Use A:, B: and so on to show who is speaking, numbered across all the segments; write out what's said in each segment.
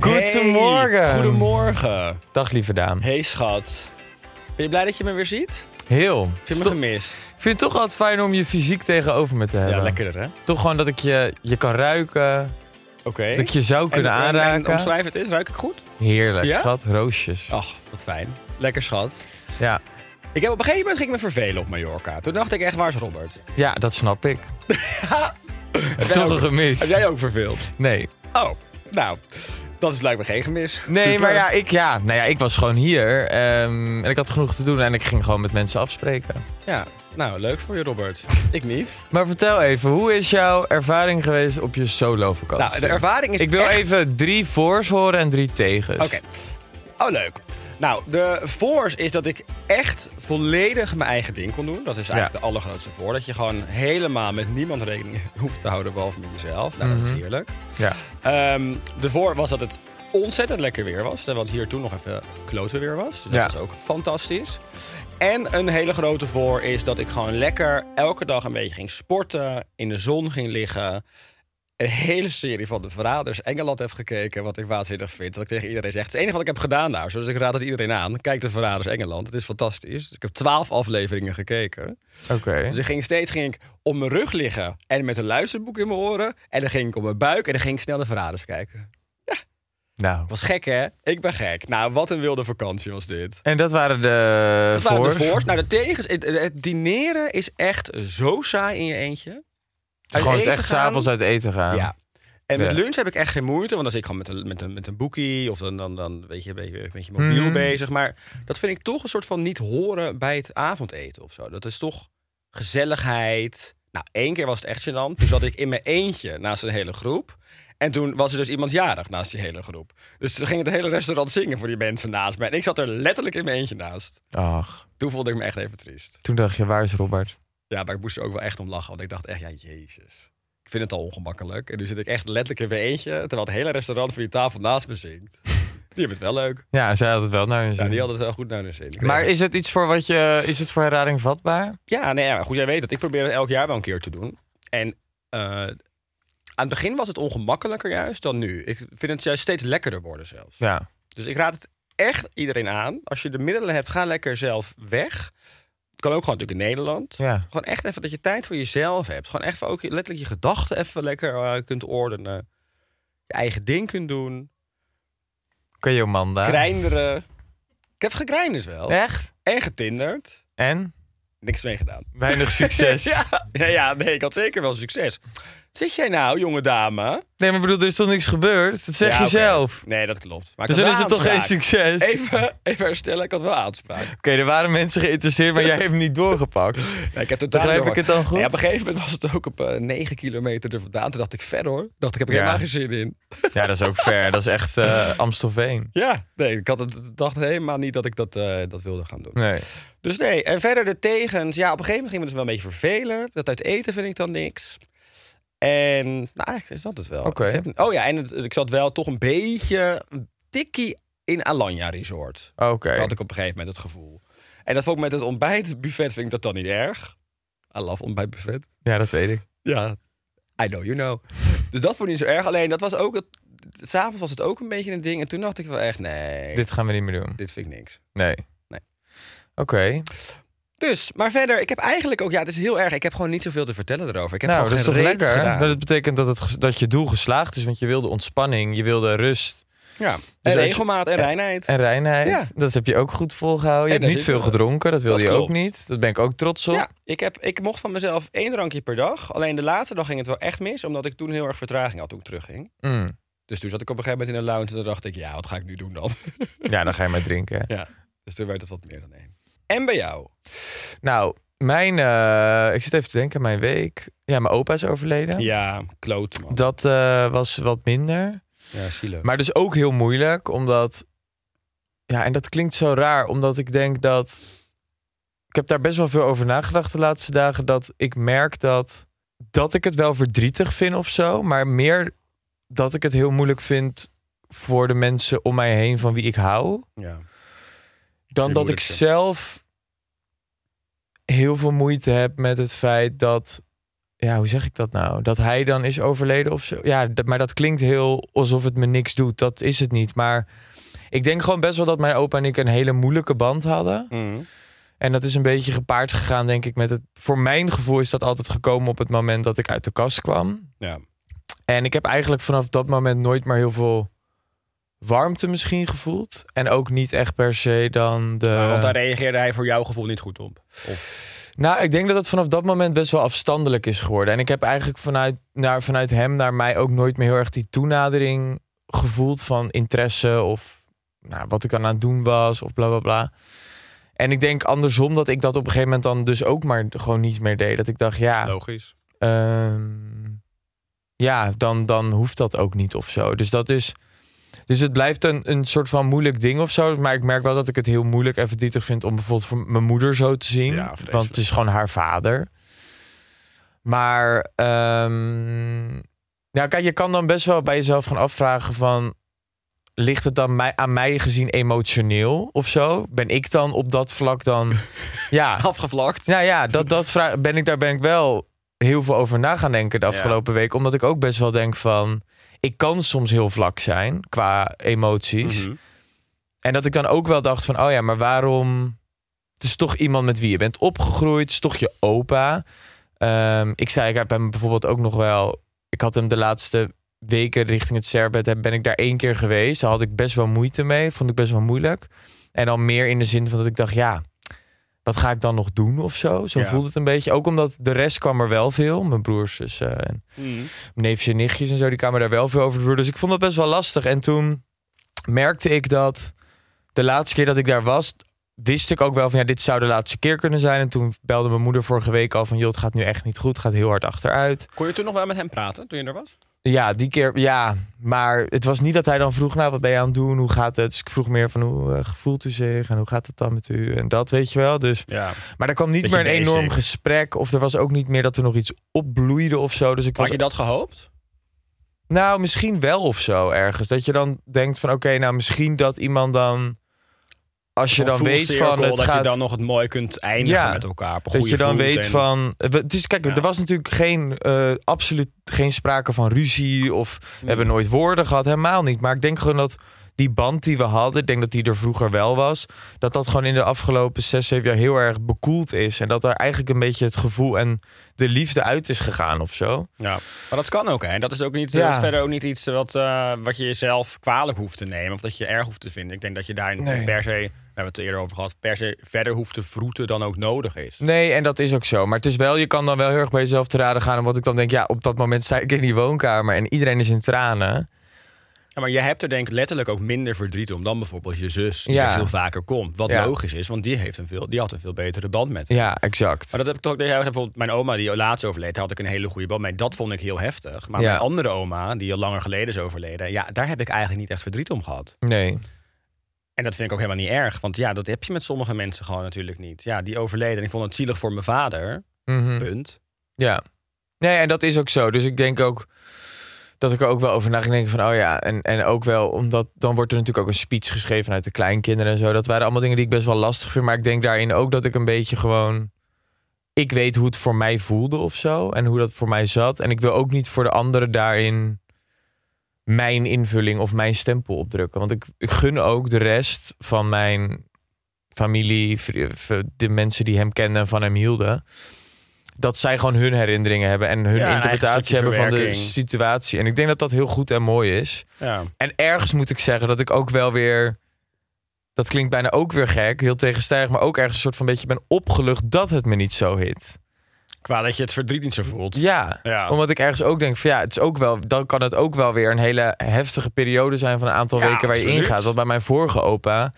A: Goedemorgen.
B: Goedemorgen.
A: Dag lieve Daan.
B: Hey schat. Ben je blij dat je me weer ziet?
A: Heel. Ik
B: Heb je me
A: toch-
B: gemist?
A: vind het toch altijd fijn om je fysiek tegenover me te hebben.
B: Ja, lekkerder hè? Oké.
A: Toch gewoon dat ik je, je kan ruiken, dat ik je zou kunnen
B: En- en- en
A: aanraken.
B: omschrijf het eens, ruik ik goed?
A: Heerlijk,
B: Ja?
A: schat. Roosjes.
B: Ach, wat fijn. Lekker schat.
A: Ja.
B: Ik heb op een gegeven moment ging ik me vervelen op Mallorca. Toen dacht ik echt, waar is Robert?
A: ja, dat snap ik. Het is
B: jij
A: toch
B: ook-
A: een gemis.
B: Heb jij ook verveeld?
A: Nee.
B: Oh, nou, dat is blijkbaar geen gemis.
A: Nee,
B: Super.
A: maar ja ik, ja, nou ja, ik was gewoon hier ehm, en ik had genoeg te doen en ik ging gewoon met mensen afspreken.
B: Ja, nou, leuk voor je Robert. ik niet.
A: Maar vertel even, hoe is jouw ervaring geweest op je solo-vakantie?
B: Nou, de ervaring is
A: eh, Ik wil
B: echt-
A: even drie voor's horen en drie tegens.
B: Oké. Oh, leuk. Nou, de voors is dat ik echt volledig mijn eigen ding kon doen. Dat is eigenlijk
A: Ja.
B: de allergrootste voor. Dat je gewoon helemaal met niemand rekening hoeft te houden behalve met jezelf.
A: Mhm.
B: Nou, dat is heerlijk.
A: Ja.
B: Ehm, de voor was dat het ontzettend lekker weer was. Terwijl het hier toen nog even klote weer was. Dus dat
A: Ja.
B: was ook fantastisch. En een hele grote voor is dat ik gewoon lekker elke dag een beetje ging sporten. In de zon ging liggen. Een hele serie van de Verraders Engeland heb gekeken. Wat ik waanzinnig vind. Dat ik tegen iedereen zeg. Het is het enige wat ik heb gedaan nou. Dus ik raad het iedereen aan. Kijk de Verraders Engeland. Het is fantastisch. Dus ik heb twaalf afleveringen gekeken.
A: Oké.
B: Dus ik ging steeds ging ik op mijn rug liggen en met een luisterboek in mijn oren. En dan ging ik op mijn buik en dan ging ik snel de verraders kijken.
A: Nou.
B: Was gek, hè? Ik ben gek. Nou, wat een wilde vakantie was dit.
A: En dat waren de
B: Dat waren de
A: voor's.
B: voors. Nou, de tegens. Het, het dineren is echt zo saai in je eentje. Uit
A: Gewoon
B: eten
A: echt
B: gaan.
A: s'avonds uit eten gaan.
B: Ja. En met
A: Ja.
B: lunch heb ik echt geen moeite, want dan zit ik gewoon met een, met een, met een boekie of dan, dan, dan weet je, ben je met je mobiel
A: Mhm.
B: bezig. Maar dat vind ik toch een soort van niet horen bij het avondeten of zo. Dat is toch gezelligheid. Nou, één keer was het echt gênant. Toen zat ik in mijn eentje naast een hele groep. En toen was er dus iemand jarig naast die hele groep. Dus toen ging het hele restaurant zingen voor die mensen naast mij. En ik zat er letterlijk in mijn eentje naast.
A: Ach,
B: Toen voelde ik me echt even triest.
A: toen dacht je, waar is Robert?
B: Ja, maar ik moest er ook wel echt om lachen. Want ik dacht echt, ja, jezus. Ik vind het al ongemakkelijk. En nu zit ik echt letterlijk in mijn eentje... terwijl het hele restaurant voor die tafel naast me zingt. Die hebben het wel leuk.
A: Ja, zij had het wel naar hun
B: Ja,
A: zin.
B: die hadden het wel goed naar hun zin. Ik
A: Maar
B: weet-
A: is het iets voor wat je... Is het voor herhaling vatbaar?
B: Ja, nee, ja, maar goed, jij weet het. Ik probeer het elk jaar wel een keer te doen. En eh, aan het begin was het ongemakkelijker juist dan nu. Ik vind het juist steeds lekkerder worden zelfs.
A: Ja.
B: Dus ik raad het echt iedereen aan. Als je de middelen hebt, ga lekker zelf weg. Kan ook gewoon natuurlijk in Nederland.
A: Ja.
B: Gewoon echt even dat je tijd voor jezelf hebt. Gewoon echt ook letterlijk je gedachten even lekker eh, kunt ordenen. Je eigen ding kunt doen.
A: Oké, Jomanda.
B: Grinderen. Ik heb gegrinderd wel.
A: Echt?
B: En getinderd.
A: En?
B: Niks mee gedaan.
A: Weinig succes.
B: ja, ja, ja, nee, ik had zeker wel succes. Zit jij nou, jonge dame?
A: Nee, maar ik bedoel, er is toch niks gebeurd? Dat zeg
B: Ja,
A: je
B: oké.
A: zelf.
B: Nee, dat klopt. Maar ik
A: Dus
B: had
A: dan is
B: wel
A: het toch geen
B: aanspraak.
A: succes? Oké,
B: Even, even herstellen, ik had wel aanspraak.
A: er waren mensen geïnteresseerd, maar jij hebt hem niet doorgepakt.
B: Ja, ik heb totaal
A: Begrijp
B: niet
A: ik het
B: door.
A: dan goed?
B: Nee, op een gegeven moment was het ook op eh, 9 kilometer er vandaan. Toen dacht ik, ver hoor. Dacht ik, heb ik
A: Ja.
B: helemaal geen zin in.
A: Ja, dat is ook fair. Dat is echt eh Amstelveen.
B: Ja, nee, ik had het, dacht helemaal niet dat ik dat, eh, dat wilde gaan doen.
A: Nee.
B: Dus nee, en verder de tegens. Ja, op een gegeven moment ging me dus wel een beetje vervelen. Dat uit eten vind ik dan niks. En nou, eigenlijk is dat het wel.
A: Oké.
B: Ik heb- Oh ja, en het- ik zat wel toch een beetje een tikkie in Alanya Resort.
A: Oké.
B: Had ik op een gegeven moment het gevoel. En dat vond ik met het ontbijtbuffet vind ik dat dan niet erg. I love ontbijtbuffet.
A: Ja, dat weet ik.
B: Ja. I know you know. Dus dat vond ik niet zo erg. Alleen dat was ook... het- S'avonds was het ook een beetje een ding. En toen dacht ik wel echt, nee, dit,
A: Dit gaan we niet meer doen.
B: dit vind ik niks.
A: Nee.
B: Nee.
A: Oké.
B: Dus, maar verder, ik heb eigenlijk ook... Ja, het is heel erg. Ik heb gewoon niet zoveel te vertellen erover. Ik heb
A: Nou,
B: gewoon
A: dat is toch
B: geen reet
A: lekker?
B: gedaan.
A: Maar Dat betekent dat, het, ges- dat je doel geslaagd is, want je wilde ontspanning, je wilde rust
B: Ja, en
A: dus als je-
B: regelmaat en reinheid.
A: en reinheid.
B: Ja.
A: Dat heb je ook goed volgehouden. Je
B: En
A: hebt
B: daar
A: niet
B: zit
A: veel
B: we.
A: gedronken, dat wilde
B: Dat
A: je ook
B: klopt.
A: niet. Dat ben ik ook trots op.
B: Ja, ik, heb, ik mocht van mezelf één drankje per dag. Alleen de laatste dag ging het wel echt mis, omdat ik toen heel erg vertraging had toen ik terugging.
A: Mm.
B: Dus toen zat ik op een gegeven moment in een lounge en toen dacht ik, ja, wat ga ik nu doen dan?
A: Ja, dan ga je maar drinken.
B: ja, dus toen werd het wat meer dan één. En bij jou?
A: Nou, mijn, eh, ik zit even te denken, mijn week. Ja, mijn opa is overleden.
B: Ja, kloot man.
A: Dat eh, was wat minder.
B: Ja, zielig.
A: Maar dus ook heel moeilijk, omdat. Ja, en dat klinkt zo raar, omdat ik denk dat. Ik heb daar best wel veel over nagedacht de laatste dagen. Dat ik merk dat. Dat ik het wel verdrietig vind of zo. Maar meer dat ik het heel moeilijk vind voor de mensen om mij heen van wie ik hou.
B: ja.
A: Dan
B: Die
A: dat ik
B: moeilijkste.
A: zelf heel veel moeite heb met het feit dat. Ja, hoe zeg ik dat nou? Dat hij dan is overleden of zo. Ja, dat- maar dat klinkt heel alsof het me niks doet. Dat is het niet. Maar ik denk gewoon best wel dat mijn opa en ik een hele moeilijke band hadden.
B: Mm.
A: En dat is een beetje gepaard gegaan, denk ik, met het. Voor mijn gevoel is dat altijd gekomen op het moment dat ik uit de kast kwam.
B: ja.
A: En ik heb eigenlijk vanaf dat moment nooit meer heel veel warmte misschien gevoeld. En ook niet echt per se dan de.
B: Maar want daar reageerde hij voor jouw gevoel niet goed op. Of,
A: Nou, ik denk dat het vanaf dat moment best wel afstandelijk is geworden. En ik heb eigenlijk vanuit, naar, vanuit hem naar mij ook nooit meer heel erg die toenadering gevoeld van interesse of nou, wat ik dan aan het doen was of bla bla bla. En ik denk andersom dat ik dat op een gegeven moment dan dus ook maar gewoon niet meer deed. Dat ik dacht, ja,
B: Logisch.
A: ehm, ja dan, dan hoeft dat ook niet of zo. Dus dat is. Dus het blijft een, een soort van moeilijk ding of zo. Maar ik merk wel dat ik het heel moeilijk en verdrietig vind om bijvoorbeeld voor mijn moeder zo te zien.
B: Ja, vreselijk.
A: want het is gewoon haar vader. Maar ehm nou, kijk, je kan dan best wel bij jezelf gaan afvragen van... Ligt het dan mij, aan mij gezien emotioneel of zo? Ben ik dan op dat vlak dan... ja,
B: Afgevlakt.
A: nou ja, dat, dat vraag, ben ik, daar ben ik wel heel veel over na gaan denken de afgelopen week. Omdat ik ook best wel denk van... Ik kan soms heel vlak zijn qua emoties.
B: Mhm.
A: En dat ik dan ook wel dacht van... Oh ja, maar waarom... Het is toch iemand met wie je bent opgegroeid. Het is toch je opa. Ehm, ik zei, ik heb hem bijvoorbeeld ook nog wel... Ik had hem de laatste weken richting het Serbet... heb- ben ik daar één keer geweest. Daar had ik best wel moeite mee. Vond ik best wel moeilijk. En dan meer in de zin van dat ik dacht... Ja, wat ga ik dan nog doen of zo? Zo
B: Ja.
A: voelde het een beetje. Ook omdat de rest kwam er wel veel. Mijn broers, zussen en
B: Mm.
A: mijn neefjes en nichtjes en zo, die kwamen daar wel veel over door. Dus ik vond dat best wel lastig. En toen merkte ik dat de laatste keer dat ik daar was, wist ik ook wel van ja, dit zou de laatste keer kunnen zijn. En toen belde mijn moeder vorige week al van joh, het gaat nu echt niet goed, het gaat heel hard achteruit.
B: Kon je toen nog wel met hem praten, toen je er was?
A: Ja, die keer, ja. Maar het was niet dat hij dan vroeg, nou, wat ben je aan het doen? Hoe gaat het? Dus ik vroeg meer van hoe eh, voelt u zich en hoe gaat het dan met u? En dat weet je wel. Dus
B: Ja.
A: maar er kwam niet
B: Beetje
A: meer een
B: basic.
A: enorm gesprek. Of er was ook niet meer dat er nog iets opbloeide of zo. Dus ik
B: Had
A: was
B: je dat gehoopt?
A: nou, misschien wel of zo ergens. Dat je dan denkt van, oké, nou misschien dat iemand dan... Als je dan
B: Zo'n
A: weet
B: voelcirkel,
A: van, het
B: dat
A: gaat...
B: je dan nog het mooi kunt eindigen
A: Ja.
B: met elkaar. op een
A: dat
B: goede
A: je dan
B: voet
A: weet
B: en-
A: van... eh, Het is, kijk,
B: Ja.
A: er was natuurlijk geen, eh, absoluut geen sprake van ruzie. Of we hebben nooit woorden gehad. Helemaal niet. Maar ik denk gewoon dat die band die we hadden... Ik denk dat die er vroeger wel was. Dat dat gewoon in de afgelopen zes, zeven jaar heel erg bekoeld is. En dat daar eigenlijk een beetje het gevoel en de liefde uit is gegaan of zo.
B: Ja, maar dat kan ook. Hè? Dat is ook niet,
A: Ja.
B: dat is verder ook niet iets wat, eh, wat je jezelf kwalijk hoeft te nemen of dat je erg hoeft te vinden. Ik denk dat je daar
A: Nee.
B: per se, we hebben het er eerder over gehad, per se verder hoeft te vroeten dan ook nodig is.
A: Nee, en dat is ook zo. Maar het is wel, je kan dan wel heel erg bij jezelf te raden gaan. En wat ik dan denk, ja, op dat moment sta ik in die woonkamer en iedereen is in tranen.
B: Ja, maar je hebt er denk ik letterlijk ook minder verdriet om dan bijvoorbeeld je zus die
A: Ja.
B: er veel vaker komt. Wat
A: Ja.
B: logisch is, want die, heeft een veel, die had een veel betere band met.
A: Ja, exact.
B: Maar dat heb ik toch ook. ja, Bijvoorbeeld mijn oma die laatst overleed, daar had ik een hele goede band mee. Dat vond ik heel heftig. Maar
A: Ja.
B: mijn andere oma, die al langer geleden is overleden, ja, daar heb ik eigenlijk niet echt verdriet om gehad.
A: Nee.
B: En dat vind ik ook helemaal niet erg. Want ja, dat heb je met sommige mensen gewoon natuurlijk niet. Ja, die overleden. En ik vond het zielig voor mijn vader.
A: Mhm.
B: Punt.
A: Ja. Nee, en dat is ook zo. Dus ik denk ook dat ik er ook wel over na ging denken van, oh ja, en, en ook wel omdat dan wordt er natuurlijk ook een speech geschreven uit de kleinkinderen en zo. Dat waren allemaal dingen die ik best wel lastig vind, maar ik denk daarin ook dat ik een beetje gewoon, ik weet hoe het voor mij voelde of zo en hoe dat voor mij zat. En ik wil ook niet voor de anderen daarin mijn invulling of mijn stempel opdrukken. Want ik, ik gun ook de rest van mijn familie, vri- v- de mensen die hem kenden en van hem hielden. Dat zij gewoon hun herinneringen hebben en hun
B: Ja, een eigen
A: interpretatie
B: stukje
A: hebben van de
B: verwerking.
A: situatie. En ik denk dat dat heel goed en mooi is.
B: Ja.
A: En ergens moet ik zeggen dat ik ook wel weer. Dat klinkt bijna ook weer gek, heel tegenstrijdig, maar ook ergens een soort van beetje ben opgelucht dat het me niet zo hit.
B: Qua dat je het verdriet niet zo voelt.
A: Ja,
B: Ja.
A: omdat ik ergens ook denk van ja, het is ook wel, dan kan het ook wel weer een hele heftige periode zijn van een aantal
B: Ja,
A: weken waar je
B: absoluut.
A: ingaat. Want bij mijn vorige opa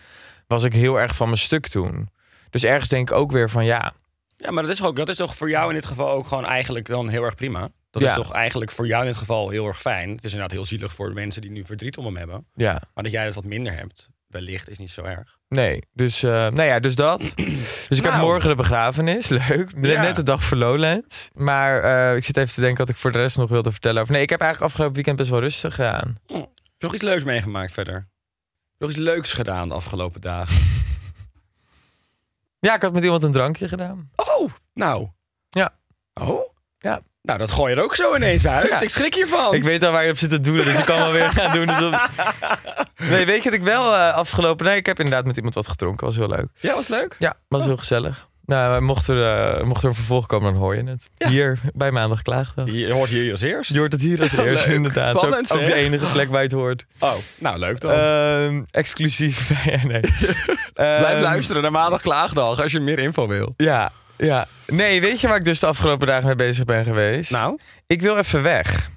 A: was ik heel erg van mijn stuk toen. Dus ergens denk ik ook weer van ja,
B: Ja, maar dat is, toch ook, dat is toch voor jou in dit geval ook gewoon eigenlijk dan heel erg prima. Dat
A: Ja.
B: is toch eigenlijk voor jou in dit geval heel erg fijn. Het is inderdaad heel zielig voor de mensen die nu verdriet om hem hebben.
A: ja.
B: Maar dat jij het wat minder hebt, wellicht, is niet zo erg.
A: Nee, dus, eh, nou ja, dus dat. Dus ik heb
B: Nou.
A: morgen de begrafenis, leuk. Net,
B: Ja.
A: net de dag voor Lowlands. Maar eh, ik zit even te denken wat ik voor de rest nog wilde vertellen. Of nee, ik heb eigenlijk afgelopen weekend best wel rustig gedaan.
B: Heb je nog iets leuks meegemaakt verder? Nog iets leuks gedaan de afgelopen dagen?
A: Ja, ik had met iemand een drankje gedaan.
B: Oh, nou.
A: Ja.
B: Oh?
A: Ja.
B: Nou, dat gooi je er ook zo ineens uit.
A: Ja.
B: Ik schrik hiervan.
A: Ik weet al waar je op zit te doelen, dus ik kan wel weer gaan doen. alsof- Nee, weet je dat ik wel eh, afgelopen... Nee, ik heb inderdaad met iemand wat gedronken, was heel leuk.
B: Ja, was leuk.
A: Ja, was heel gezellig. Nou, mocht er, eh, mocht er een vervolg komen, dan hoor je het. Hier, bij Maandag Klaagdag.
B: Je hoort hier als eerst.
A: Je hoort het hier als eerste,
B: Leuk.
A: inderdaad. Zo
B: Spannend,
A: ook de
B: zeg.
A: enige plek waar je het hoort.
B: Oh, nou leuk dan.
A: Ehm, exclusief. Ja, nee.
B: Blijf
A: Ehm,
B: luisteren naar Maandag Klaagdag als je meer info wil.
A: Ja, ja. Nee, weet je waar ik dus de afgelopen dagen mee bezig ben geweest?
B: Nou?
A: Ik wil even weg.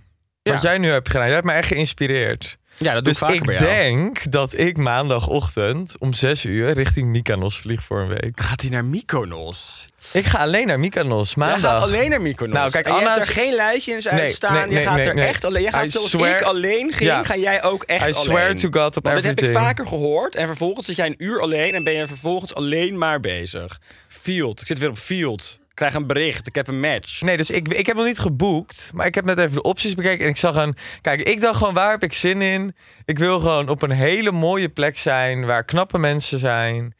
A: Wat
B: Ja.
A: jij nu hebt gedaan. Jij hebt mij echt geïnspireerd.
B: Ja, dat
A: dus ik denk dat ik maandagochtend om 6 uur richting Mykonos vlieg voor een week.
B: Gaat hij naar Mykonos?
A: Ik ga alleen naar Mykonos
B: Jij
A: maandag.
B: gaat alleen naar Mykonos.
A: Nou, kijk,
B: En je
A: Anna
B: hebt er
A: is-
B: geen lijstjes
A: Nee,
B: uit staan.
A: nee,
B: je
A: nee,
B: gaat
A: nee,
B: er
A: nee.
B: echt alleen. Je gaat
A: I
B: zoals
A: swear-
B: ik alleen ging,
A: Ja.
B: ga jij ook echt
A: I
B: alleen.
A: swear to God op
B: Want dat heb ik
A: everything.
B: vaker gehoord. En vervolgens zit jij een uur alleen en ben je vervolgens alleen maar bezig. Field. Ik zit weer op Field. Ik krijg een bericht. Ik heb een match.
A: Nee, dus ik, ik heb nog niet geboekt. Maar ik heb net even de opties bekeken. En ik zag een. Kijk, ik dacht gewoon: waar heb ik zin in? Ik wil gewoon op een hele mooie plek zijn. Waar knappe mensen zijn.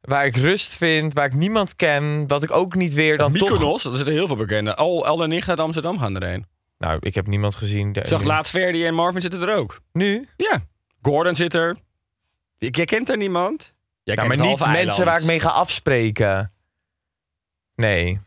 A: Waar ik rust vind. Waar ik niemand ken. Wat ik ook niet weer dan
B: Mykonos,
A: toch.
B: dat zitten heel veel bekenden. Al, al en nicht uit Amsterdam gaan erheen.
A: Nou, ik heb niemand gezien. De-
B: Ik zag laatst Verdi en Marvin zitten er ook.
A: Nu?
B: Ja. Gordon zit er. J- Jij kent er niemand. Jij
A: Ja,
B: kent
A: Nou, maar
B: het
A: niet
B: halve
A: mensen waar ik
B: eiland.
A: mee ga afspreken. Nee.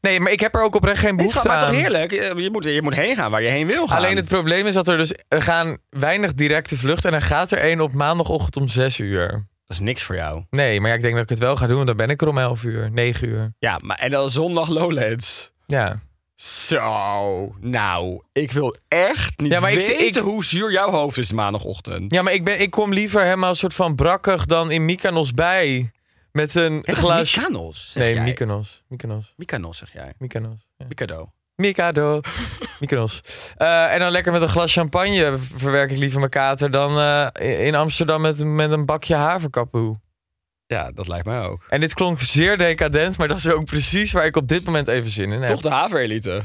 A: Nee, maar ik heb er ook oprecht geen
B: Het is
A: behoefte
B: gewoon- maar
A: aan.
B: toch heerlijk. Je je moet, je moet heen gaan waar je heen wil gaan.
A: Alleen het probleem is dat er dus er gaan weinig directe vluchten. En er gaat er één op maandagochtend om 6 uur.
B: Dat is niks voor jou.
A: Nee, maar ja, ik denk dat ik het wel ga doen, want dan ben ik er om 11 uur, 9 uur.
B: Ja, maar en dan zondag Lowlands.
A: Ja.
B: Zo, nou, ik wil echt niet
A: Ja, maar ik-
B: weten
A: ik-
B: hoe zuur jouw hoofd is maandagochtend.
A: Ja, maar ik, ben, ik kom liever helemaal een soort van brakkig dan in Mykonos bij. Met een
B: Het
A: glas.
B: Mykonos, zeg
A: nee,
B: jij.
A: Mykonos. Mykonos.
B: Mykonos, zeg jij.
A: Mykonos. Ja.
B: Mikado.
A: Mikado. Mykonos. Eh, en dan lekker met een glas champagne verwerk ik liever mijn kater dan eh, in Amsterdam met, met een bakje haverkapoe.
B: Ja, dat lijkt mij ook.
A: En dit klonk zeer decadent, maar dat is ook precies waar ik op dit moment even zin in heb.
B: Toch de haverelite.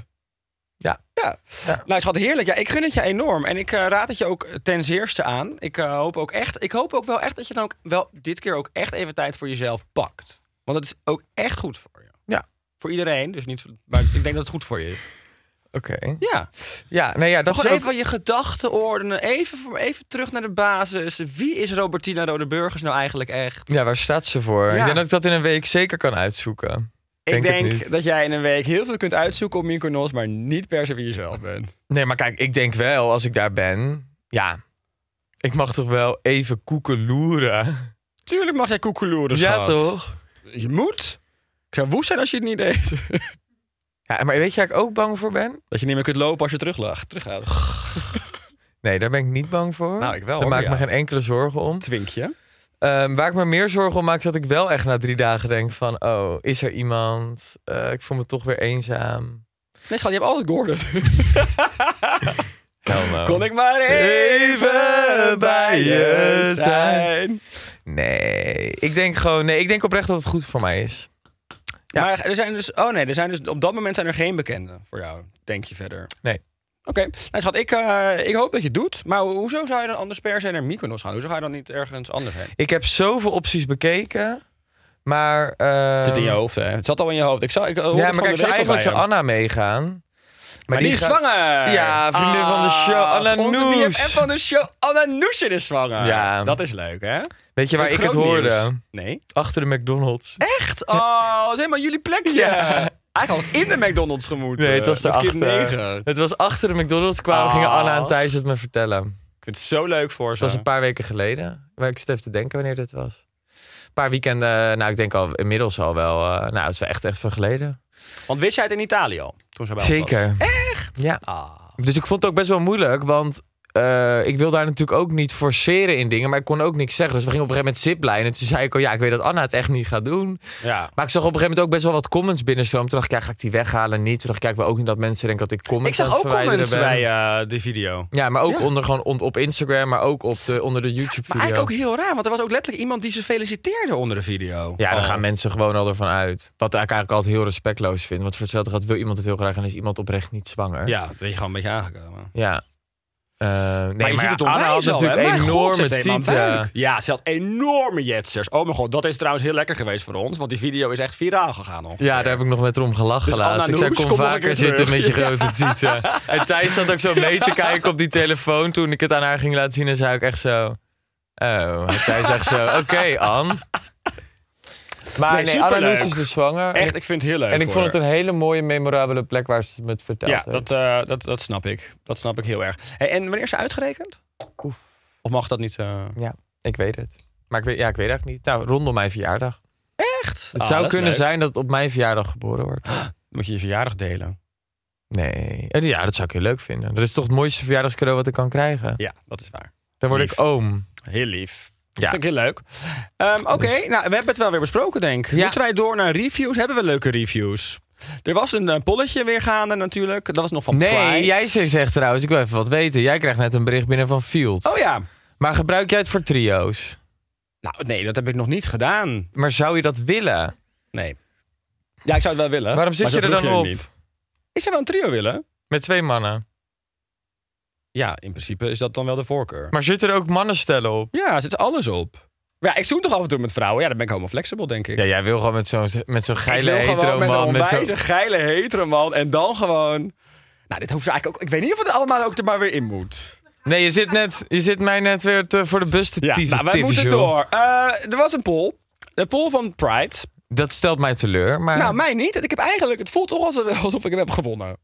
A: Ja.
B: Ja.
A: Ja.
B: Nou, schat, heerlijk. Ja, ik gun het je enorm. En ik eh, raad het je ook ten zeerste aan. Ik, eh, hoop ook echt, ik hoop ook wel echt dat je dan ook wel dit keer ook echt even tijd voor jezelf pakt. Want dat is ook echt goed voor je.
A: Ja.
B: Voor iedereen, dus niet... voor- Maar ik denk dat het goed voor je is.
A: Oké.
B: Ja.
A: Ja, nee, ja, dat
B: Nog
A: is ook-
B: even je gedachten ordenen. Even, voor- even terug naar de basis. Wie is Robertina Rodeburgers nou eigenlijk echt?
A: Ja, waar staat ze voor?
B: Ja.
A: Ik denk dat ik dat in een week zeker kan uitzoeken.
B: ik
A: het
B: denk
A: niet.
B: dat jij in een week heel veel kunt uitzoeken op Mykonos, maar niet per se wie je zelf bent.
A: Nee, maar kijk, ik denk wel, als ik daar ben... Ja, ik mag toch wel even koeken loeren?
B: Tuurlijk mag jij koekeloeren,
A: ja,
B: schat.
A: toch?
B: Je moet. Ik zou woest zijn als je het niet deed.
A: Ja, maar weet je waar ik ook bang voor ben?
B: Dat je niet meer kunt lopen als je terug teruggaat.
A: Nee, daar ben ik niet bang voor.
B: Nou, ik wel,
A: Daar
B: hoor,
A: maak ik
B: ja.
A: me geen enkele zorgen om.
B: Twinkje.
A: Ehm, waar ik me meer zorgen om maak, is dat ik wel echt na drie dagen denk van... Oh, is er iemand? Eh, ik voel me toch weer eenzaam.
B: Nee, schat, je hebt altijd Gordon.
A: Hell no.
B: Kon ik maar even bij je zijn.
A: Nee, ik denk gewoon... Nee, ik denk oprecht dat het goed voor mij is.
B: Maar er zijn dus... Oh nee, er zijn dus, op dat moment zijn er geen bekenden voor jou, denk je verder.
A: Nee.
B: Oké, nou, schat, ik, eh, ik hoop dat je het doet. Maar ho- hoezo zou je dan anders per se naar Mykonos gaan? Hoezo ga je dan niet ergens anders heen?
A: Ik heb zoveel opties bekeken, maar... eh,
B: Het zit in je hoofd, hè? Het zat al in je hoofd. Ik zou, ik,
A: Ja, maar kijk, ik zou eigenlijk zou Anna meegaan. Maar,
B: Maar die, is
A: gaat-
B: zwanger! Ah,
A: Ja, vriendin van de show, Anna
B: onze
A: Noes.
B: BFF van de show, Anna Noesje is zwanger.
A: Ja.
B: Dat is leuk, hè?
A: Weet je waar ik
B: Groot
A: het hoorde?
B: nieuws. Nee.
A: Achter de McDonald's.
B: Echt? Oh, dat is helemaal jullie plekje.
A: Ja.
B: Eigenlijk had het in de McDonald's gemoet.
A: Nee, het was
B: de Eh, kind
A: daarachter.
B: 9.
A: Het was achter de McDonald's kwamen,
B: Ah.
A: gingen Anna en Thijs het me vertellen.
B: Ik vind het zo leuk voor ze.
A: Dat was een paar weken geleden. Maar ik zit even te denken wanneer dit was. Een paar weekenden, nou ik denk al inmiddels al wel. eh, nou, het is wel echt echt van geleden.
B: Want wist jij het in Italië al? Toen ze bij ons was?
A: Zeker. Echt? Ja.
B: Ah.
A: Dus ik vond het ook best wel moeilijk, want eh, ik wil daar natuurlijk ook niet forceren in dingen, maar ik kon ook niks zeggen. Dus we gingen op een gegeven moment ziplijnen. Toen zei ik al, ja, ik weet dat Anna het echt niet gaat doen.
B: Ja.
A: Maar ik zag op een gegeven moment ook best wel wat comments binnenstromen. Toen dacht ik, ja, ga ik die weghalen? Niet. Toen dacht ik, ja, ik wil ook niet dat mensen denken dat ik comments
B: Ik zag
A: aan
B: ook
A: het verwijderen
B: comments
A: ben.
B: bij eh, de video.
A: Ja, maar ook onder gewoon on- op Instagram, maar ook op de, onder de YouTube
B: Maar
A: video.
B: eigenlijk ook heel raar, want er was ook letterlijk iemand die ze feliciteerde onder de video.
A: ja, daar
B: Oh.
A: gaan mensen gewoon al ervan uit. Wat ik eigenlijk altijd heel respectloos vind. Want voor hetzelfde geld wil iemand het heel graag en is iemand oprecht niet zwanger.
B: Ja, ben je gewoon een beetje aangekomen.
A: Ja. Eh, nee,
B: maar je ziet het onwijs
A: Anna had
B: al, hè?
A: natuurlijk
B: Mijn god,
A: enorme
B: zit helemaal buik.
A: tieten.
B: Ja, ze had enorme jetsers. Oh mijn god, dat is trouwens heel lekker geweest voor ons. Want die video is echt viraal gegaan. Ongeveer.
A: Ja, daar heb ik nog met Rom gelachen
B: Dus
A: laatst.
B: Anna
A: Ik zei,
B: Noes,
A: kom,
B: kom nog een
A: vaker
B: keer
A: zitten
B: terug.
A: met je grote tieten. En Thijs zat ook zo mee te kijken op die telefoon toen ik het aan haar ging laten zien. En zei ik echt zo... Oh, en Thijs echt zo, oké, An. Maar
B: Nee,
A: nee, Anna Noes
B: superleuk.
A: is dus zwanger.
B: Echt, ik vind het heel leuk.
A: En ik
B: voor
A: vond het
B: haar.
A: een hele mooie, memorabele plek waar ze het me het verteld
B: Ja,
A: heeft.
B: dat, eh, dat, dat snap ik. Dat snap ik heel erg. Hey, en wanneer is ze uitgerekend? Of mag dat niet? eh,
A: Ja, ik weet het. Maar ik weet, ja, ik weet eigenlijk niet. Nou, rondom mijn verjaardag.
B: Echt?
A: Het
B: Ah,
A: zou
B: dat is
A: kunnen
B: leuk.
A: zijn dat het op mijn verjaardag geboren wordt.
B: Moet je je verjaardag delen?
A: Nee. En ja, dat zou ik heel leuk vinden. Dat is toch het mooiste verjaardagscadeau wat ik kan krijgen.
B: Ja, dat is waar.
A: Dan word
B: lief.
A: ik oom.
B: Heel lief.
A: Ja. Dus-
B: Vind ik heel leuk. Ehm, Oké, nou, we hebben het wel weer besproken, denk ik.
A: Ja.
B: Moeten wij door naar reviews? Hebben we leuke reviews? Er was een, eh, polletje weer gaande natuurlijk. Dat was nog van
A: Nee,
B: Pride.
A: jij zegt, zegt trouwens, ik wil even wat weten. Jij krijgt net een bericht binnen van Field.
B: Oh ja.
A: Maar gebruik jij het voor trio's?
B: Nou, nee, dat heb ik nog niet gedaan.
A: Maar zou je dat willen?
B: Nee. Ja, ik zou het wel willen.
A: Waarom zit
B: maar
A: je
B: zo
A: er dan
B: vroeg het
A: op?
B: Niet. Ik zou wel een trio willen.
A: Met twee mannen.
B: Ja, in principe is dat dan wel de voorkeur.
A: Maar zitten er ook mannenstellen op?
B: Ja, er zit alles op. Maar ja, ik zoen toch af en toe met vrouwen. Ja, dan ben ik helemaal flexibel, denk ik.
A: Ja, jij wil gewoon met zo'n met zo'n
B: Ik
A: geile
B: wil
A: hetero
B: gewoon met een
A: man. Met
B: onwijze
A: zo'n-
B: geile hetero man. En dan gewoon... Nou, dit hoeft ze eigenlijk ook... Ik weet niet of het allemaal ook er maar weer in moet.
A: Nee, je zit, net, je zit mij net weer te, voor de bus te
B: Ja,
A: tieven-
B: nou, wij
A: tiffen,
B: moeten
A: joh.
B: door. Eh, er was een poll. De poll van Pride.
A: Dat stelt mij teleur. Maar...
B: Nou,
A: Nou,
B: mij niet. Ik heb eigenlijk... Het voelt toch alsof alsof ik hem heb gewonnen.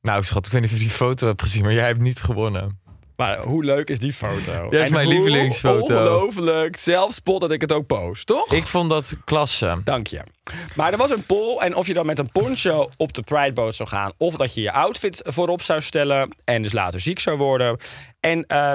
A: Nou, schat, ik weet niet of je die foto hebt gezien, maar jij hebt niet gewonnen.
B: Maar hoe leuk is die foto?
A: Ja, is
B: En
A: mijn
B: hoe
A: lievelingsfoto.
B: Ongelooflijk. Zelfspot dat ik het ook post, toch?
A: Ik vond dat klasse.
B: Dank je. Maar er was een poll en of je dan met een poncho op de Prideboot zou gaan... of dat je je outfit voorop zou stellen en dus later ziek zou worden. En eh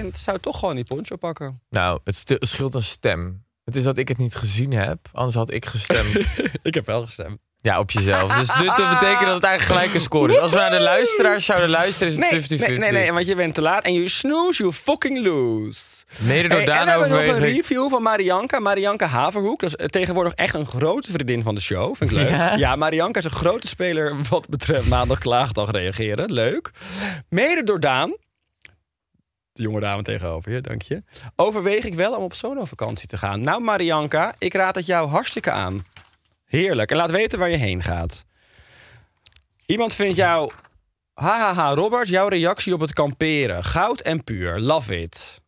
B: 50,2% zou toch gewoon die poncho pakken.
A: Nou, het stil- scheelt een stem. Het is dat ik het niet gezien heb, anders had ik gestemd.
B: Ik heb wel gestemd.
A: ja, op jezelf. Dus dit dat betekent dat het eigenlijk gelijk een score is. Als we naar de luisteraars zouden luisteren, is
B: Nee,
A: het 50-50.
B: nee, nee, nee, want je bent te laat en you snoeze, you fucking lose.
A: Mede door
B: Hey, en we
A: Daan
B: hebben nog een
A: overweging.
B: review van Marianka. Marianka Haverhoek. Dat is eh, tegenwoordig echt een grote vriendin van de show. Vind ik leuk. Ja,
A: Ja?
B: Marianka is een grote speler wat betreft maandag klaagdag reageren. Leuk. Mede door Daan. De jonge dame tegenover je, dank je. Overweeg ik wel om op solo-vakantie te gaan. Nou, Marianka, ik raad het jou hartstikke aan. Heerlijk. En laat weten waar je heen gaat. Iemand vindt jou... Hahaha, Robert, jouw reactie op het kamperen. Goud en puur. Love it.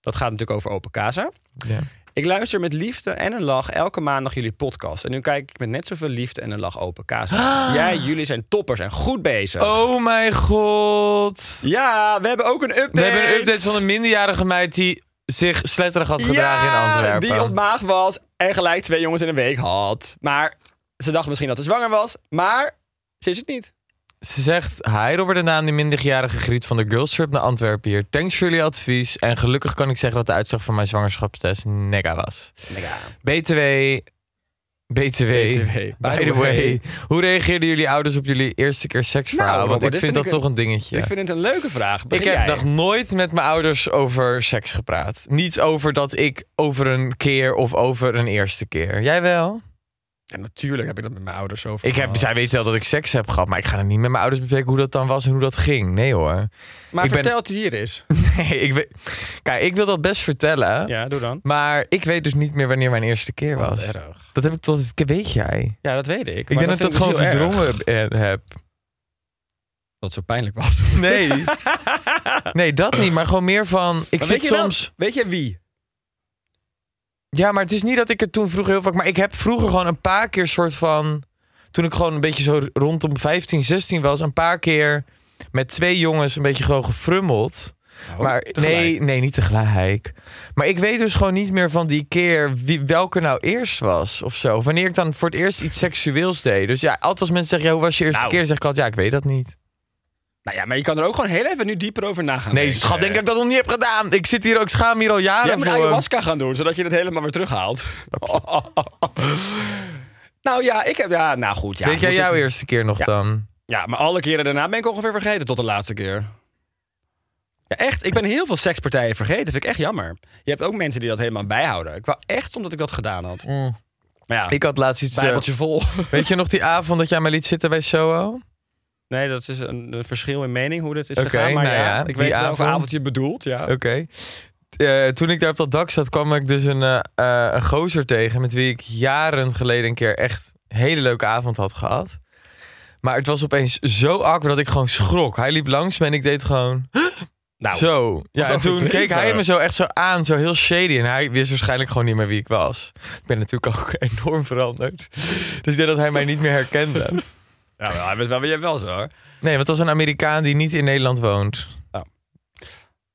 B: Dat gaat natuurlijk over Open Casa.
A: Ja.
B: Ik luister met liefde en een lach elke maandag jullie podcast. En nu kijk ik met net zoveel liefde en een lach Open Casa. Ja, jullie zijn toppers en goed bezig.
A: Oh mijn god.
B: Ja, we hebben ook een update.
A: We hebben een update van een minderjarige meid die zich sletterig had gedragen
B: ja,
A: in Antwerpen.
B: die ontmaagd was en gelijk twee jongens in een week had. Maar ze dacht misschien dat ze zwanger was, maar ze is het niet.
A: Ze zegt, hi Robert en Daan, die minderjarige griet van de Girls Trip naar Antwerpen hier. Thanks voor jullie advies. En gelukkig kan ik zeggen dat de uitslag van mijn zwangerschapstest nega was.
B: Nega.
A: BTW... BTW,
B: BTW,
A: by the way. Hoe reageerden jullie ouders op jullie eerste keer seksverhaal?
B: Nou, Robert, dit
A: Want ik vind
B: vind
A: dat
B: ik
A: toch
B: een-
A: een dingetje.
B: Ik vind het een leuke vraag.
A: Ik
B: Begin
A: heb
B: jij.
A: nog nooit met mijn ouders over seks gepraat. Niet over dat ik over een keer of over een eerste keer. Jij wel?
B: En natuurlijk heb ik dat met mijn ouders over.
A: Ik heb,
B: gehad.
A: zij weten wel dat ik seks heb gehad, maar ik ga er niet met mijn ouders bespreken hoe dat dan was en hoe dat ging. Nee hoor.
B: Maar
A: ik ben-
B: vertel het hier eens.
A: Nee, ik weet- Kijk, ik wil dat best vertellen,
B: Ja, doe dan.
A: maar ik weet dus niet meer wanneer mijn eerste keer
B: Wat
A: was.
B: erg.
A: Dat heb ik tot... Weet jij?
B: Ja, dat weet ik. dus
A: Ik denk dat ik dat gewoon verdrongen heb- eh, heb.
B: Dat zo pijnlijk was.
A: Nee. nee, dat niet. Maar gewoon meer van. Ik
B: Maar
A: zit
B: weet je wel-
A: soms.
B: weet je wie?
A: Ja, maar het is niet dat ik het toen vroeger heel vaak. Maar ik heb vroeger gewoon een paar keer soort van. Toen ik gewoon een beetje zo rondom 15, 16 was, een paar keer met twee jongens een beetje gewoon gefrummeld. maar
B: Oh, tegelijk.
A: nee, nee, niet tegelijk. Maar ik weet dus gewoon niet meer van die keer wie, welke nou eerst was of zo. Of Wanneer ik dan voor het eerst iets seksueels deed. Dus ja, altijd als mensen zeggen, ja, hoe was je eerste
B: Nou.
A: keer? Zeg ik altijd, ja, ik weet dat niet.
B: Nou ja, maar je kan er ook gewoon heel even nu dieper over na gaan
A: Nee,
B: denken.
A: schat, denk ik dat ik dat nog niet heb gedaan. Ik zit hier ook, ik schaam me hier al jaren
B: Jij moet
A: voor.
B: ayahuasca gaan doen, zodat je het helemaal weer terughaalt. nou ja, ik heb... Ja, nou goed. Ja,
A: weet jij
B: moet
A: jouw
B: ik-
A: eerste keer nog dan?
B: Ja, maar alle keren daarna ben ik ongeveer vergeten tot de laatste keer. Ja, echt. Ik ben heel veel sekspartijen vergeten. vind ik echt jammer. Je hebt ook mensen die dat helemaal bijhouden. Ik wou echt omdat ik dat gedaan had. Maar ja,
A: Mm. Ik had laatst iets... eh,
B: bijbeltje vol.
A: Weet je nog die avond dat jij mij liet zitten bij Soho?
B: Nee, dat is een, een verschil in mening hoe dit is
A: Oké,
B: gegaan. Maar
A: nou
B: ja,
A: ja,
B: ik
A: die
B: weet
A: avond.
B: welke avond je bedoelt. Ja.
A: Oké. Eh, toen ik daar op dat dak zat, kwam ik dus een, eh, eh, een gozer tegen... met wie ik jaren geleden een keer echt een hele leuke avond had gehad. Maar het was opeens zo awkward dat ik gewoon schrok. Hij liep langs me en ik deed gewoon
B: Nou,
A: zo. Ja, en
B: een
A: toen
B: goed
A: keek
B: leven.
A: hij me zo echt zo aan, zo heel shady. En hij wist waarschijnlijk gewoon niet meer wie ik was. Ik ben natuurlijk ook enorm veranderd. Dus ik denk dat hij mij niet meer herkende.
B: ja, wel, hij bent wel, maar jij wel zo hoor.
A: Nee, want het was een Amerikaan die niet in Nederland woont.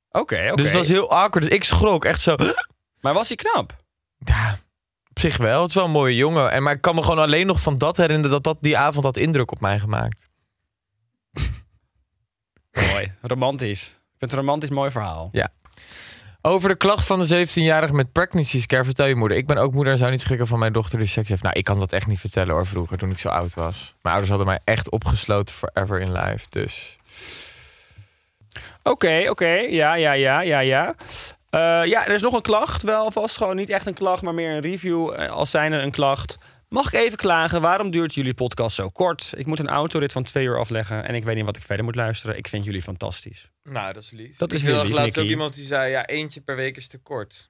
B: Oké, oké.
A: Dus dat was heel awkward. Dus ik schrok echt zo.
B: Maar was hij knap?
A: Ja, op zich wel. Het is wel een mooie jongen. En, maar ik kan me gewoon alleen nog van dat herinneren dat, dat die avond had indruk op mij gemaakt.
B: Mooi, romantisch. Ik vind het een romantisch mooi verhaal.
A: Ja. Over de klacht van de 17-jarige met pregnancy scare vertel je moeder. Ik ben ook moeder en zou niet schrikken van mijn dochter die seks heeft. Nou, ik kan dat echt niet vertellen hoor, vroeger toen ik zo oud was. Mijn ouders hadden mij echt opgesloten forever in life. Dus
B: Oké, oké. Ja, ja, ja, ja, ja. Eh, ja, er is nog een klacht. Wel vast gewoon niet echt een klacht, maar meer een review eh, als zijn er een klacht. Mag ik even klagen? Waarom duurt jullie podcast zo kort? Ik moet een autorit van twee uur afleggen en ik weet niet wat ik verder moet luisteren. Ik vind jullie fantastisch.
A: Nou, dat is lief.
B: Dat is Ik heel zag lief, laatst ook Nicky. iemand
A: die zei, ja, eentje per week is te kort.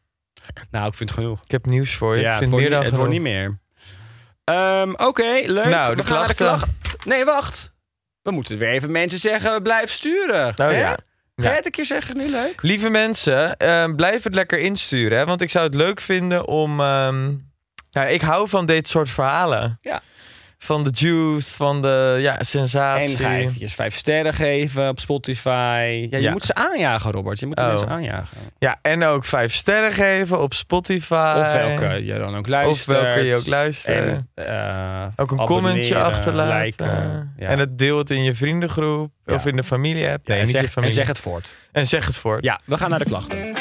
B: Nou, ik vind het genoeg.
A: Ik heb nieuws voor je.
B: ja,
A: ik
B: het
A: vind
B: wordt
A: meer
B: niet,
A: dan
B: het wordt niet
A: genoeg.
B: meer. Ehm, Oké, leuk.
A: Nou, de
B: We gaan naar de
A: klachten.
B: klacht. Nee, wacht. We moeten weer even mensen zeggen, blijf sturen.
A: Nou
B: Hè?
A: ja.
B: Ga
A: Ja.
B: je het een keer zeggen, nu leuk?
A: Lieve mensen, eh, blijf het lekker insturen. Hè? Want ik zou het leuk vinden om. ehm, nou, ik hou van dit soort verhalen.
B: Ja.
A: Van de juice, van de ja,
B: En
A: sensatie.
B: ga eventjes vijf sterren geven op Spotify. Ja, je
A: Ja.
B: moet ze aanjagen, Robert. Je moet de
A: Oh.
B: mensen aanjagen.
A: Ja, en ook vijf sterren geven op Spotify.
B: Of welke je dan ook luistert.
A: Eh, Of welke je ook luistert.
B: En, eh,
A: Ook een
B: abonneren,
A: commentje achterlaten.
B: liken, ja.
A: En het deel het in je vriendengroep
B: Ja.
A: of in de familie app.
B: Ja,
A: Nee,
B: en,
A: niet
B: zeg,
A: je familie.
B: en zeg het voort.
A: En zeg het voor.
B: Ja, we gaan naar de klachten.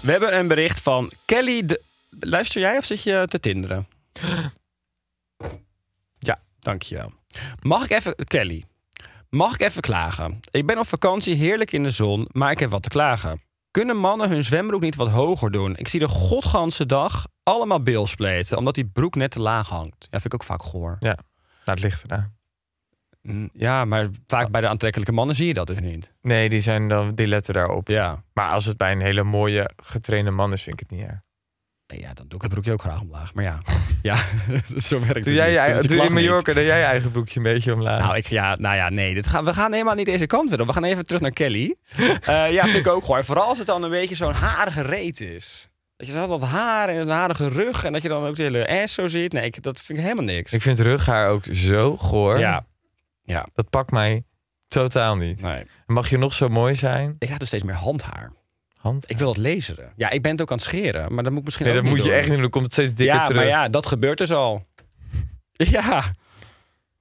B: We hebben een bericht van Kelly de... Luister jij of zit je te tinderen? Ja, dankjewel. Mag ik even... Kelly, mag ik even klagen? Ik ben op vakantie heerlijk in de zon, maar ik heb wat te klagen. Kunnen mannen hun zwembroek niet wat hoger doen? Ik zie de godganse dag allemaal bilspleten, omdat die broek net te laag hangt. Ja, vind ik ook vaak goor.
A: ja. Nou, het ligt eraan.
B: Mm, Ja, maar vaak bij de aantrekkelijke mannen zie je dat dus niet.
A: Nee, die, zijn dan, die letten daarop.
B: Ja.
A: Maar als het bij een hele mooie getrainde man is, vind ik het niet erg.
B: Nee, ja, dan doe ik het broekje ook graag omlaag. Maar ja, ja zo werkt het
A: Doe jij
B: niet.
A: je,
B: Dit is de
A: doe in
B: klacht niet.
A: Mallorca dat jij je eigen boekje een beetje omlaag.
B: Nou, ik, ja, nou ja, nee. Dit gaan, we gaan helemaal niet deze kant weer op. We gaan even terug naar Kelly. Eh, ja, vind ik ook gewoon. Vooral als het dan een beetje zo'n harige reet is. Dat je zo dat haar en een harige rug... en dat je dan ook de hele ass zo ziet. Nee, ik, dat vind ik helemaal niks.
A: ik vind rughaar ook zo goor.
B: ja, Nou. ja.
A: Dat pakt mij totaal niet.
B: Nee.
A: Mag je nog zo mooi zijn?
B: Ik krijg dus steeds meer handhaar.
A: Hand.
B: Ik wil dat laseren. Ja, ik ben het ook aan het scheren. Maar dat moet ik misschien
A: nee,
B: ook
A: dat moet
B: niet
A: je
B: doen.
A: echt niet doen. Dan komt het steeds dikker
B: Ja,
A: terug.
B: maar ja, dat gebeurt dus al. Ja,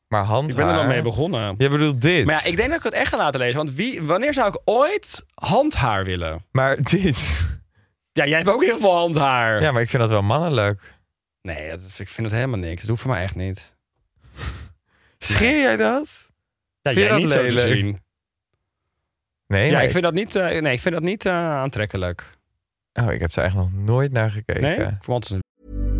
A: maar hand.
B: ik ben er dan mee begonnen.
A: Je bedoelt dit.
B: Maar ja, ik denk dat ik het echt ga laten lezen. Want wie, wanneer zou ik ooit handhaar willen?
A: Maar dit.
B: Ja, jij hebt ook heel veel handhaar.
A: Ja, maar ik vind dat wel mannelijk.
B: Nee, dat, ik vind het helemaal niks. Dat hoeft voor mij echt niet.
A: Scheer jij dat?
B: Ja,
A: Vind je
B: jij
A: dat
B: niet zo te
A: lelijk?
B: zien.
A: Nee,
B: Ja,
A: maar
B: ik vind dat niet, eh, nee, ik vind dat niet eh, aantrekkelijk.
A: Oh, ik heb er eigenlijk nog nooit naar gekeken.
B: Nee? Want het is een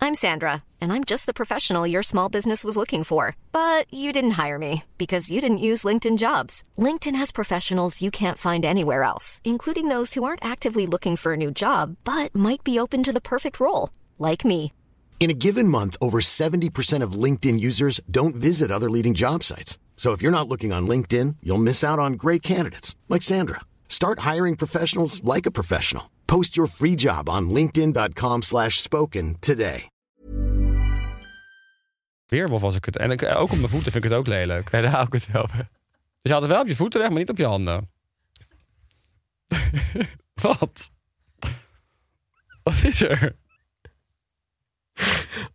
C: I'm Sandra, and I'm just the professional your small business was looking for. But you didn't hire me because you didn't use LinkedIn jobs. LinkedIn has professionals you can't find anywhere else, including those who aren't actively looking for a new job but might be open to the perfect role, like me.
D: In a given month, over 70% of LinkedIn users don't visit other leading job sites. So if you're not looking on LinkedIn, you'll miss out on great candidates like Sandra. Start hiring professionals like a professional. Post your free job on linkedin.com/spoken slash spoken today.
B: weerwolf was ik het. En ik, ook op mijn voeten vind ik het ook lelijk.
A: Nee, daar haal ik het wel bij.
B: Dus je had het wel op je voeten weg, maar niet op je handen. Wat? Wat is er?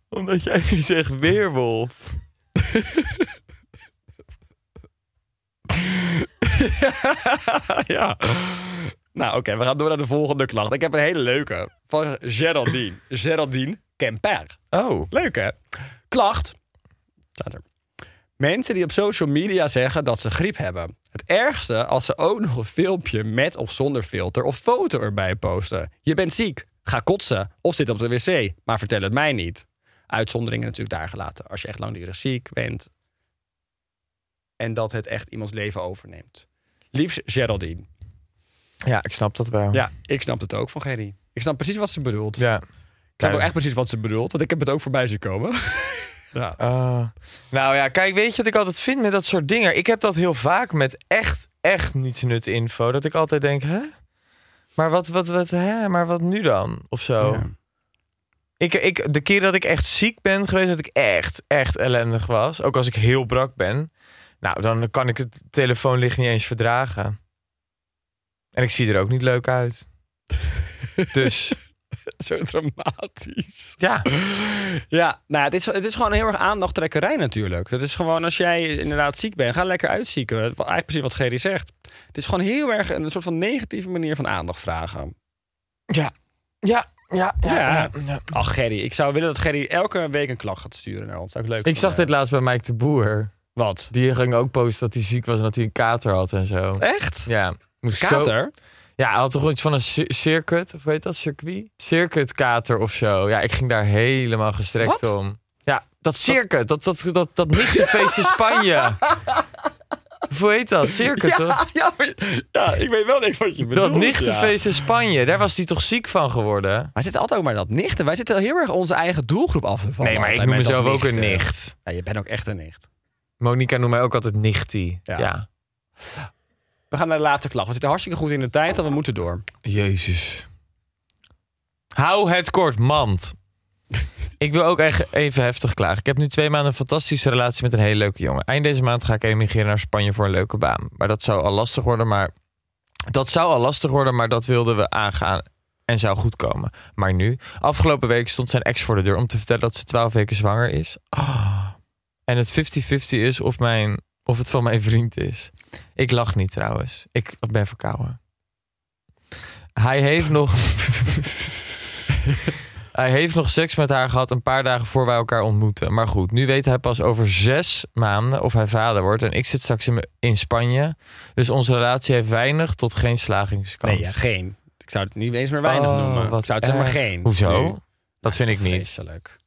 A: Omdat jij nu zegt weerwolf.
B: ja. Nou, oké, we gaan door naar de volgende klacht. Ik heb een hele leuke van Geraldine. Geraldine Kemper.
A: Oh.
B: Leuk, hè? Klacht. Staat er. Mensen die op social media zeggen dat ze griep hebben. Het ergste als ze ook nog een filmpje met of zonder filter of foto erbij posten. Je bent ziek, ga kotsen of zit op de wc, maar vertel het mij niet. Uitzonderingen natuurlijk daar gelaten. Als je echt langdurig ziek bent en dat het echt iemands leven overneemt. Liefst Geraldine.
A: Ja, ik snap dat wel.
B: Ja, ik snap het ook van Gerry. Ik snap precies wat ze bedoelt.
A: Oh. Ja.
B: Ik snap ook echt precies wat ze bedoelt, want ik heb het ook voorbij zien komen. ja.
A: Ah. nou ja, kijk, weet je wat ik altijd vind met dat soort dingen? Ik heb dat heel vaak met echt, echt niets nut info. Dat ik altijd denk, hè? Maar wat, wat, wat, hè? Maar wat nu dan? Of zo.
B: Ja.
A: Ik, ik, de keer dat ik echt ziek ben geweest, dat ik echt, echt ellendig was. Ook als ik heel brak ben. Nou, dan kan ik het telefoonlicht niet eens verdragen. En ik zie er ook niet leuk uit. dus,
B: Zo dramatisch.
A: ja.
B: Ja, nou, het is, het is gewoon heel erg aandachttrekkerij natuurlijk. Het is gewoon als jij inderdaad ziek bent, ga lekker uitzieken. Wat- Eigenlijk precies wat Gerry zegt. Het is gewoon heel erg een soort van negatieve manier van aandacht vragen.
A: Ja. Ja. Ja. ja,
B: Ja.
A: ja, ja.
B: Ach, Gerry, ik zou willen dat Gerry elke week een klacht gaat sturen naar ons. Zou ik leuk
A: Ik zag
B: vinden.
A: dit laatst bij Mike de Boer.
B: Wat?
A: Die ging ook posten dat hij ziek was en dat hij een kater had en zo.
B: Echt?
A: Ja. Moest zo-
B: Kater?
A: ja, hij had toch iets van een cir- circuit, of weet dat, circuit? Circuit kater of zo. Ja, ik ging daar helemaal gestrekt
B: Wat?
A: om. Ja, dat circuit, dat, dat, dat, dat nichtenfeest in Spanje. Of Hoe heet dat? Circuit, toch?
B: ja, maar- ja, ik weet wel niks wat je bedoelt.
A: Dat
B: ja.
A: nichtenfeest in Spanje, daar was hij toch ziek van geworden?
B: Wij zitten altijd ook maar dat nichten. Wij zitten heel erg onze eigen doelgroep af te vallen.
A: Nee, maar ik noem
B: altijd met dat
A: mezelf ook een
B: nichten.
A: nicht.
B: Ja, je bent ook echt een nicht.
A: Monika noemt mij ook altijd nichtie.
B: Ja.
A: Ja.
B: We gaan naar de laatste klacht. We zitten hartstikke goed in de tijd, en we moeten door.
A: Jezus. Hou het kort, mand. Ik wil ook echt even heftig klagen. Ik heb nu twee maanden een fantastische relatie met een hele leuke jongen. Eind deze maand ga ik emigreren naar Spanje voor een leuke baan. Maar dat zou al lastig worden, maar... Dat zou al lastig worden, maar dat wilden we aangaan en zou goed komen. Maar nu, afgelopen week stond zijn ex voor de deur om te vertellen dat ze 12 weken zwanger is. Ah. En het 50-50 is of, mijn, of het van mijn vriend is. Ik lach niet trouwens. Ik ben verkouden. Hij heeft nog. hij heeft nog seks met haar gehad een paar dagen voor wij elkaar ontmoeten. Maar goed, nu weet hij pas over zes maanden of hij vader wordt. En ik zit straks in, in Spanje. Dus onze relatie heeft weinig tot geen slagingskans.
B: Nee, ja, geen. Ik zou het niet eens meer weinig
A: Oh,
B: noemen.
A: wat
B: ik zou het zeg maar
A: erg.
B: geen.
A: Hoezo?
B: Nu.
A: Dat vind ik
B: is
A: niet.
B: Vreselijk.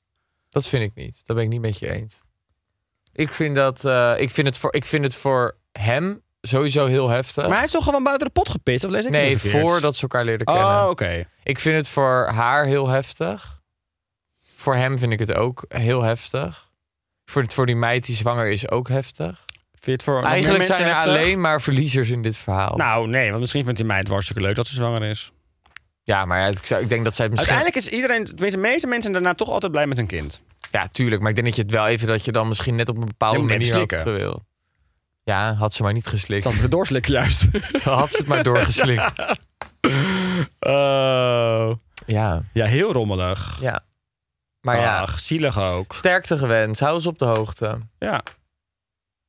A: Dat vind ik niet. Dat ben ik niet met je eens. Ik vind, dat, eh, ik vind, het, voor, ik vind het voor hem sowieso heel heftig.
B: Maar hij is toch gewoon buiten de pot gepist? Of lees ik het
A: nee,
B: nu verkeerd?
A: voordat ze elkaar leerden kennen.
B: Oh, oké.
A: Ik vind het voor haar heel heftig. Voor hem vind ik het ook heel heftig. Voor, voor die meid die zwanger is ook heftig.
B: Vind je het voor nog meer
A: Eigenlijk
B: mensen
A: zijn er
B: heftig?
A: alleen maar verliezers in dit verhaal.
B: Nou, nee, want misschien vindt die meid het hartstikke leuk dat ze zwanger is.
A: Ja, maar ja, ik, zou, ik denk dat zij het misschien...
B: Uiteindelijk is iedereen, tenminste de meeste mensen daarna toch altijd blij met hun kind.
A: Ja, tuurlijk. Maar ik denk dat je het wel even... dat je dan misschien net op een bepaalde
B: Je moet net
A: manier had
B: slikken.
A: gewild. Ja, had ze maar niet geslikt.
B: Dat doorslikken juist.
A: Dan had ze het maar doorgeslikt.
B: Oh.
A: Ja,
B: Ja, heel rommelig.
A: ja. Maar ja,
B: Ach, zielig ook.
A: sterkte gewenst. Hou ons op de hoogte.
B: Ja.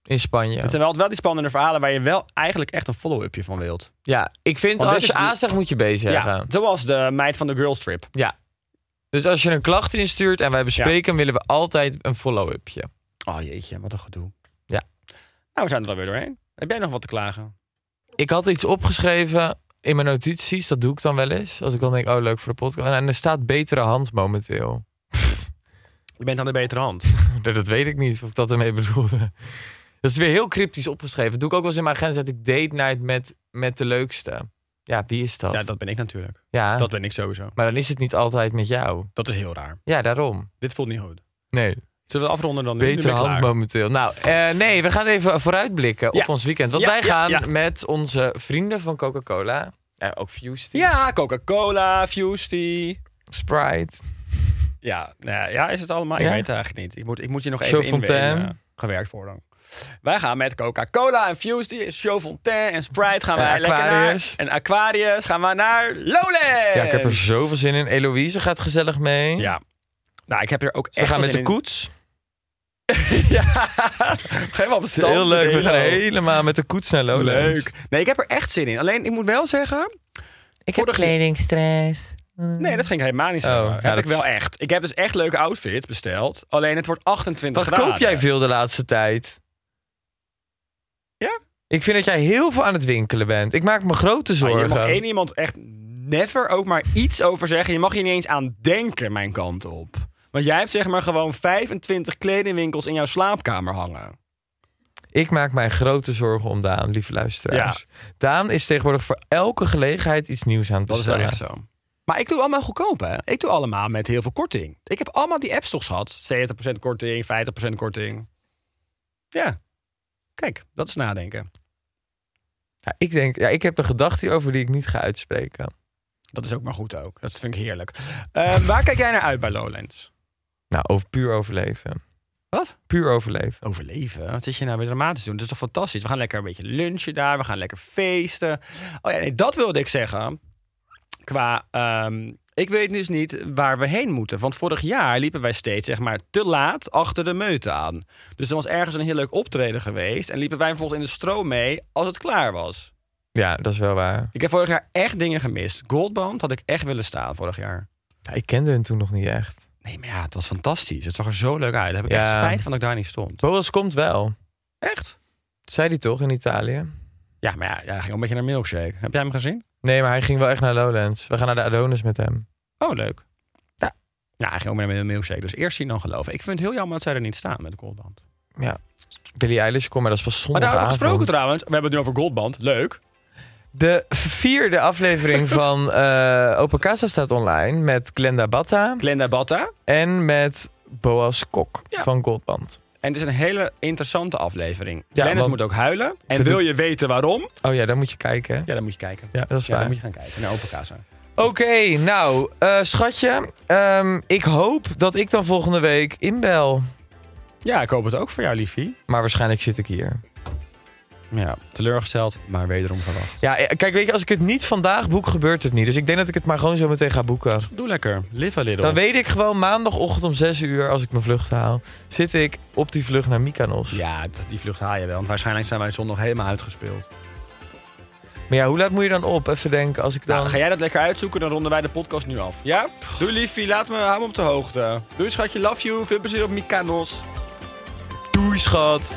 A: In Spanje.
B: Het zijn wel, wel die spannende verhalen waar je wel eigenlijk echt een follow-upje van wilt.
A: Ja, ik vind
B: Want
A: als
B: dit
A: je
B: is die-
A: A zegt, moet je B zeggen.
B: Ja, zoals de meid van de girls trip.
A: Ja. Dus als je een klacht instuurt en wij bespreken, hem, willen we altijd een follow-upje.
B: Oh jeetje, wat een gedoe.
A: Ja.
B: Nou, we zijn er alweer doorheen. Heb jij nog wat te klagen?
A: Ik had iets opgeschreven in mijn notities, dat doe ik dan wel eens. Als ik dan denk, oh leuk voor de podcast. En er staat betere hand momenteel.
B: Je bent aan de betere hand.
A: Nou, Dat weet ik niet of ik dat ermee bedoelde. Dat is weer heel cryptisch opgeschreven. Dat doe ik ook wel eens in mijn agenda. Zet ik date night met, met de leukste. Ja, wie is dat?
B: Ja, dat ben ik natuurlijk.
A: Ja,
B: Dat ben ik sowieso.
A: maar dan is het niet altijd met jou.
B: Dat is heel raar.
A: Ja, daarom.
B: Dit voelt niet goed.
A: Nee,
B: Zullen we afronden dan? nu? Nu
A: betere
B: ben ik
A: hand
B: klaar.
A: momenteel. Nou, eh, nee, we gaan even vooruitblikken
B: Ja.
A: op ons weekend. Want
B: Ja,
A: wij
B: ja,
A: gaan
B: ja.
A: met onze vrienden van Coca-Cola, eh, ook Fusty,
B: Ja, Coca-Cola, Fusty.
A: Sprite,
B: Ja, nou ja, ja, is het allemaal?
A: Ja.
B: Ik weet het eigenlijk niet. Ik moet, ik moet je nog
A: Show
B: even in,
A: Fontaine.
B: in, eh, gewerkt worden. Wij gaan met Coca-Cola en Fusty, Show Fontaine en Sprite gaan
A: En
B: wij lekker naar.
A: Aquarius.
B: En Aquarius gaan we naar Lowlands.
A: Ja, ik heb er zoveel zin in. Eloïse gaat gezellig mee.
B: Ja. Nou, ik heb er ook
A: we
B: echt
A: gaan
B: wel
A: met de
B: zin in.
A: koets.
B: ja, helemaal op
A: Het is
B: stand.
A: heel leuk. We gaan
B: Helemaal.
A: helemaal met de koets naar Lowlands.
B: Leuk. Nee, ik heb er echt zin in. Alleen, ik moet wel zeggen...
A: Ik
B: heb
A: kledingstress.
B: Nee, dat ging ik helemaal niet
A: Oh,
B: zeggen.
A: ja,
B: heb
A: dat
B: ik wel
A: is-
B: echt. Ik heb dus echt leuke outfits besteld. Alleen het wordt 28
A: Wat
B: graden.
A: koop jij veel de laatste tijd?
B: Ja?
A: Ik vind dat jij heel veel aan het winkelen bent. Ik maak me grote
B: Maar
A: zorgen.
B: je mag één iemand echt never ook maar iets over zeggen. Je mag hier niet eens aan denken, mijn kant op. Want jij hebt zeg maar gewoon 25 kledingwinkels in jouw slaapkamer hangen.
A: Ik maak mij grote zorgen om Daan, lieve luisteraars. Daan is tegenwoordig voor elke gelegenheid iets nieuws aan het
B: Dat is wel
A: bestellen.
B: echt zo. Maar ik doe allemaal goedkoop, hè? Ik doe allemaal met heel veel korting. Ik heb allemaal die apps toch gehad. 70% korting, 50% korting. Ja. Kijk, dat is nadenken.
A: Ja, ik denk, ja, ik heb een gedachte hierover die ik niet ga uitspreken.
B: Dat is ook maar goed ook. Dat vind ik heerlijk. Eh, waar kijk jij naar uit bij Lowlands?
A: Nou, over puur overleven.
B: Wat?
A: Puur overleven.
B: Overleven? Wat zit je nou weer dramatisch te doen? Dat is toch fantastisch? We gaan lekker een beetje lunchen daar. We gaan lekker feesten. Oh ja, nee, dat wilde ik zeggen. Qua... ehm, ik weet dus niet waar we heen moeten. Want vorig jaar liepen wij steeds zeg maar, te laat achter de meute aan. Dus er was ergens een heel leuk optreden geweest. En liepen wij vervolgens in de stroom mee als het klaar was.
A: Ja, dat is wel waar.
B: Ik heb vorig jaar echt dingen gemist. Goldband had ik echt willen staan vorig jaar.
A: Ja, ik kende hun toen nog niet echt.
B: Nee, maar ja, het was fantastisch. Het zag er zo leuk uit. Daar heb ik
A: Ja.
B: echt spijt van dat ik daar niet stond.
A: Boas komt wel.
B: Echt?
A: Dat zei hij toch in Italië?
B: Ja, maar ja, ja, hij ging een beetje naar Milkshake. Heb jij hem gezien?
A: Nee, maar hij ging wel echt naar Lowlands. We gaan naar de Adonis met hem.
B: Oh, leuk. Ja. Nou, hij ging ook naar Milkshake. Dus eerst zien dan geloven. Ik vind het heel jammer dat zij er niet staan met de Goldband.
A: Ja. Billie Eilish komt, maar dat is pas
B: Maar
A: zondag.
B: daarover gesproken trouwens. We hebben het nu over Goldband. Leuk.
A: De vierde aflevering van eh Open Casa staat online met Glenda Batta
B: Glenda Batta.
A: en met Boas Kok
B: Ja.
A: van Goldband.
B: En het is een hele interessante aflevering.
A: Ja,
B: Glennis
A: want-
B: moet ook huilen. En
A: Ze
B: wil
A: doet-
B: je weten waarom?
A: Oh ja, daar moet je kijken. hè?
B: Ja, dan moet je kijken.
A: Ja, dat is
B: Ja,
A: waar.
B: dan moet je gaan kijken naar Open Casa.
A: Oké, nou, eh, schatje, ehm, ik hoop dat ik dan volgende week inbel.
B: Ja, ik hoop het ook voor jou, liefie.
A: Maar waarschijnlijk zit ik hier.
B: Ja, teleurgesteld, maar wederom verwacht.
A: Ja, eh, kijk, weet je, als ik het niet vandaag boek, gebeurt het niet. Dus ik denk dat ik het maar gewoon zo meteen ga boeken.
B: Doe lekker. Live a little.
A: Dan weet ik gewoon maandagochtend om 6 uur, als ik mijn vlucht haal, zit ik op die vlucht naar Mykonos.
B: Ja, d- die vlucht haal je wel. Want waarschijnlijk zijn wij zondag helemaal uitgespeeld.
A: Maar ja, hoe laat moet je dan op? Even denken, als ik dan...
B: Nou, ga jij dat lekker uitzoeken, dan ronden wij de podcast nu af. Ja? Doei liefie, laat me, hou me op de hoogte. Doei schatje, love you. Veel plezier op Mykonos.
A: Doei, schat!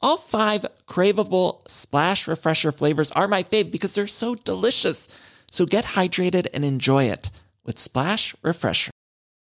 E: All five craveable splash refresher flavors are my fave because they're so delicious. So get hydrated and enjoy it with Splash Refresher.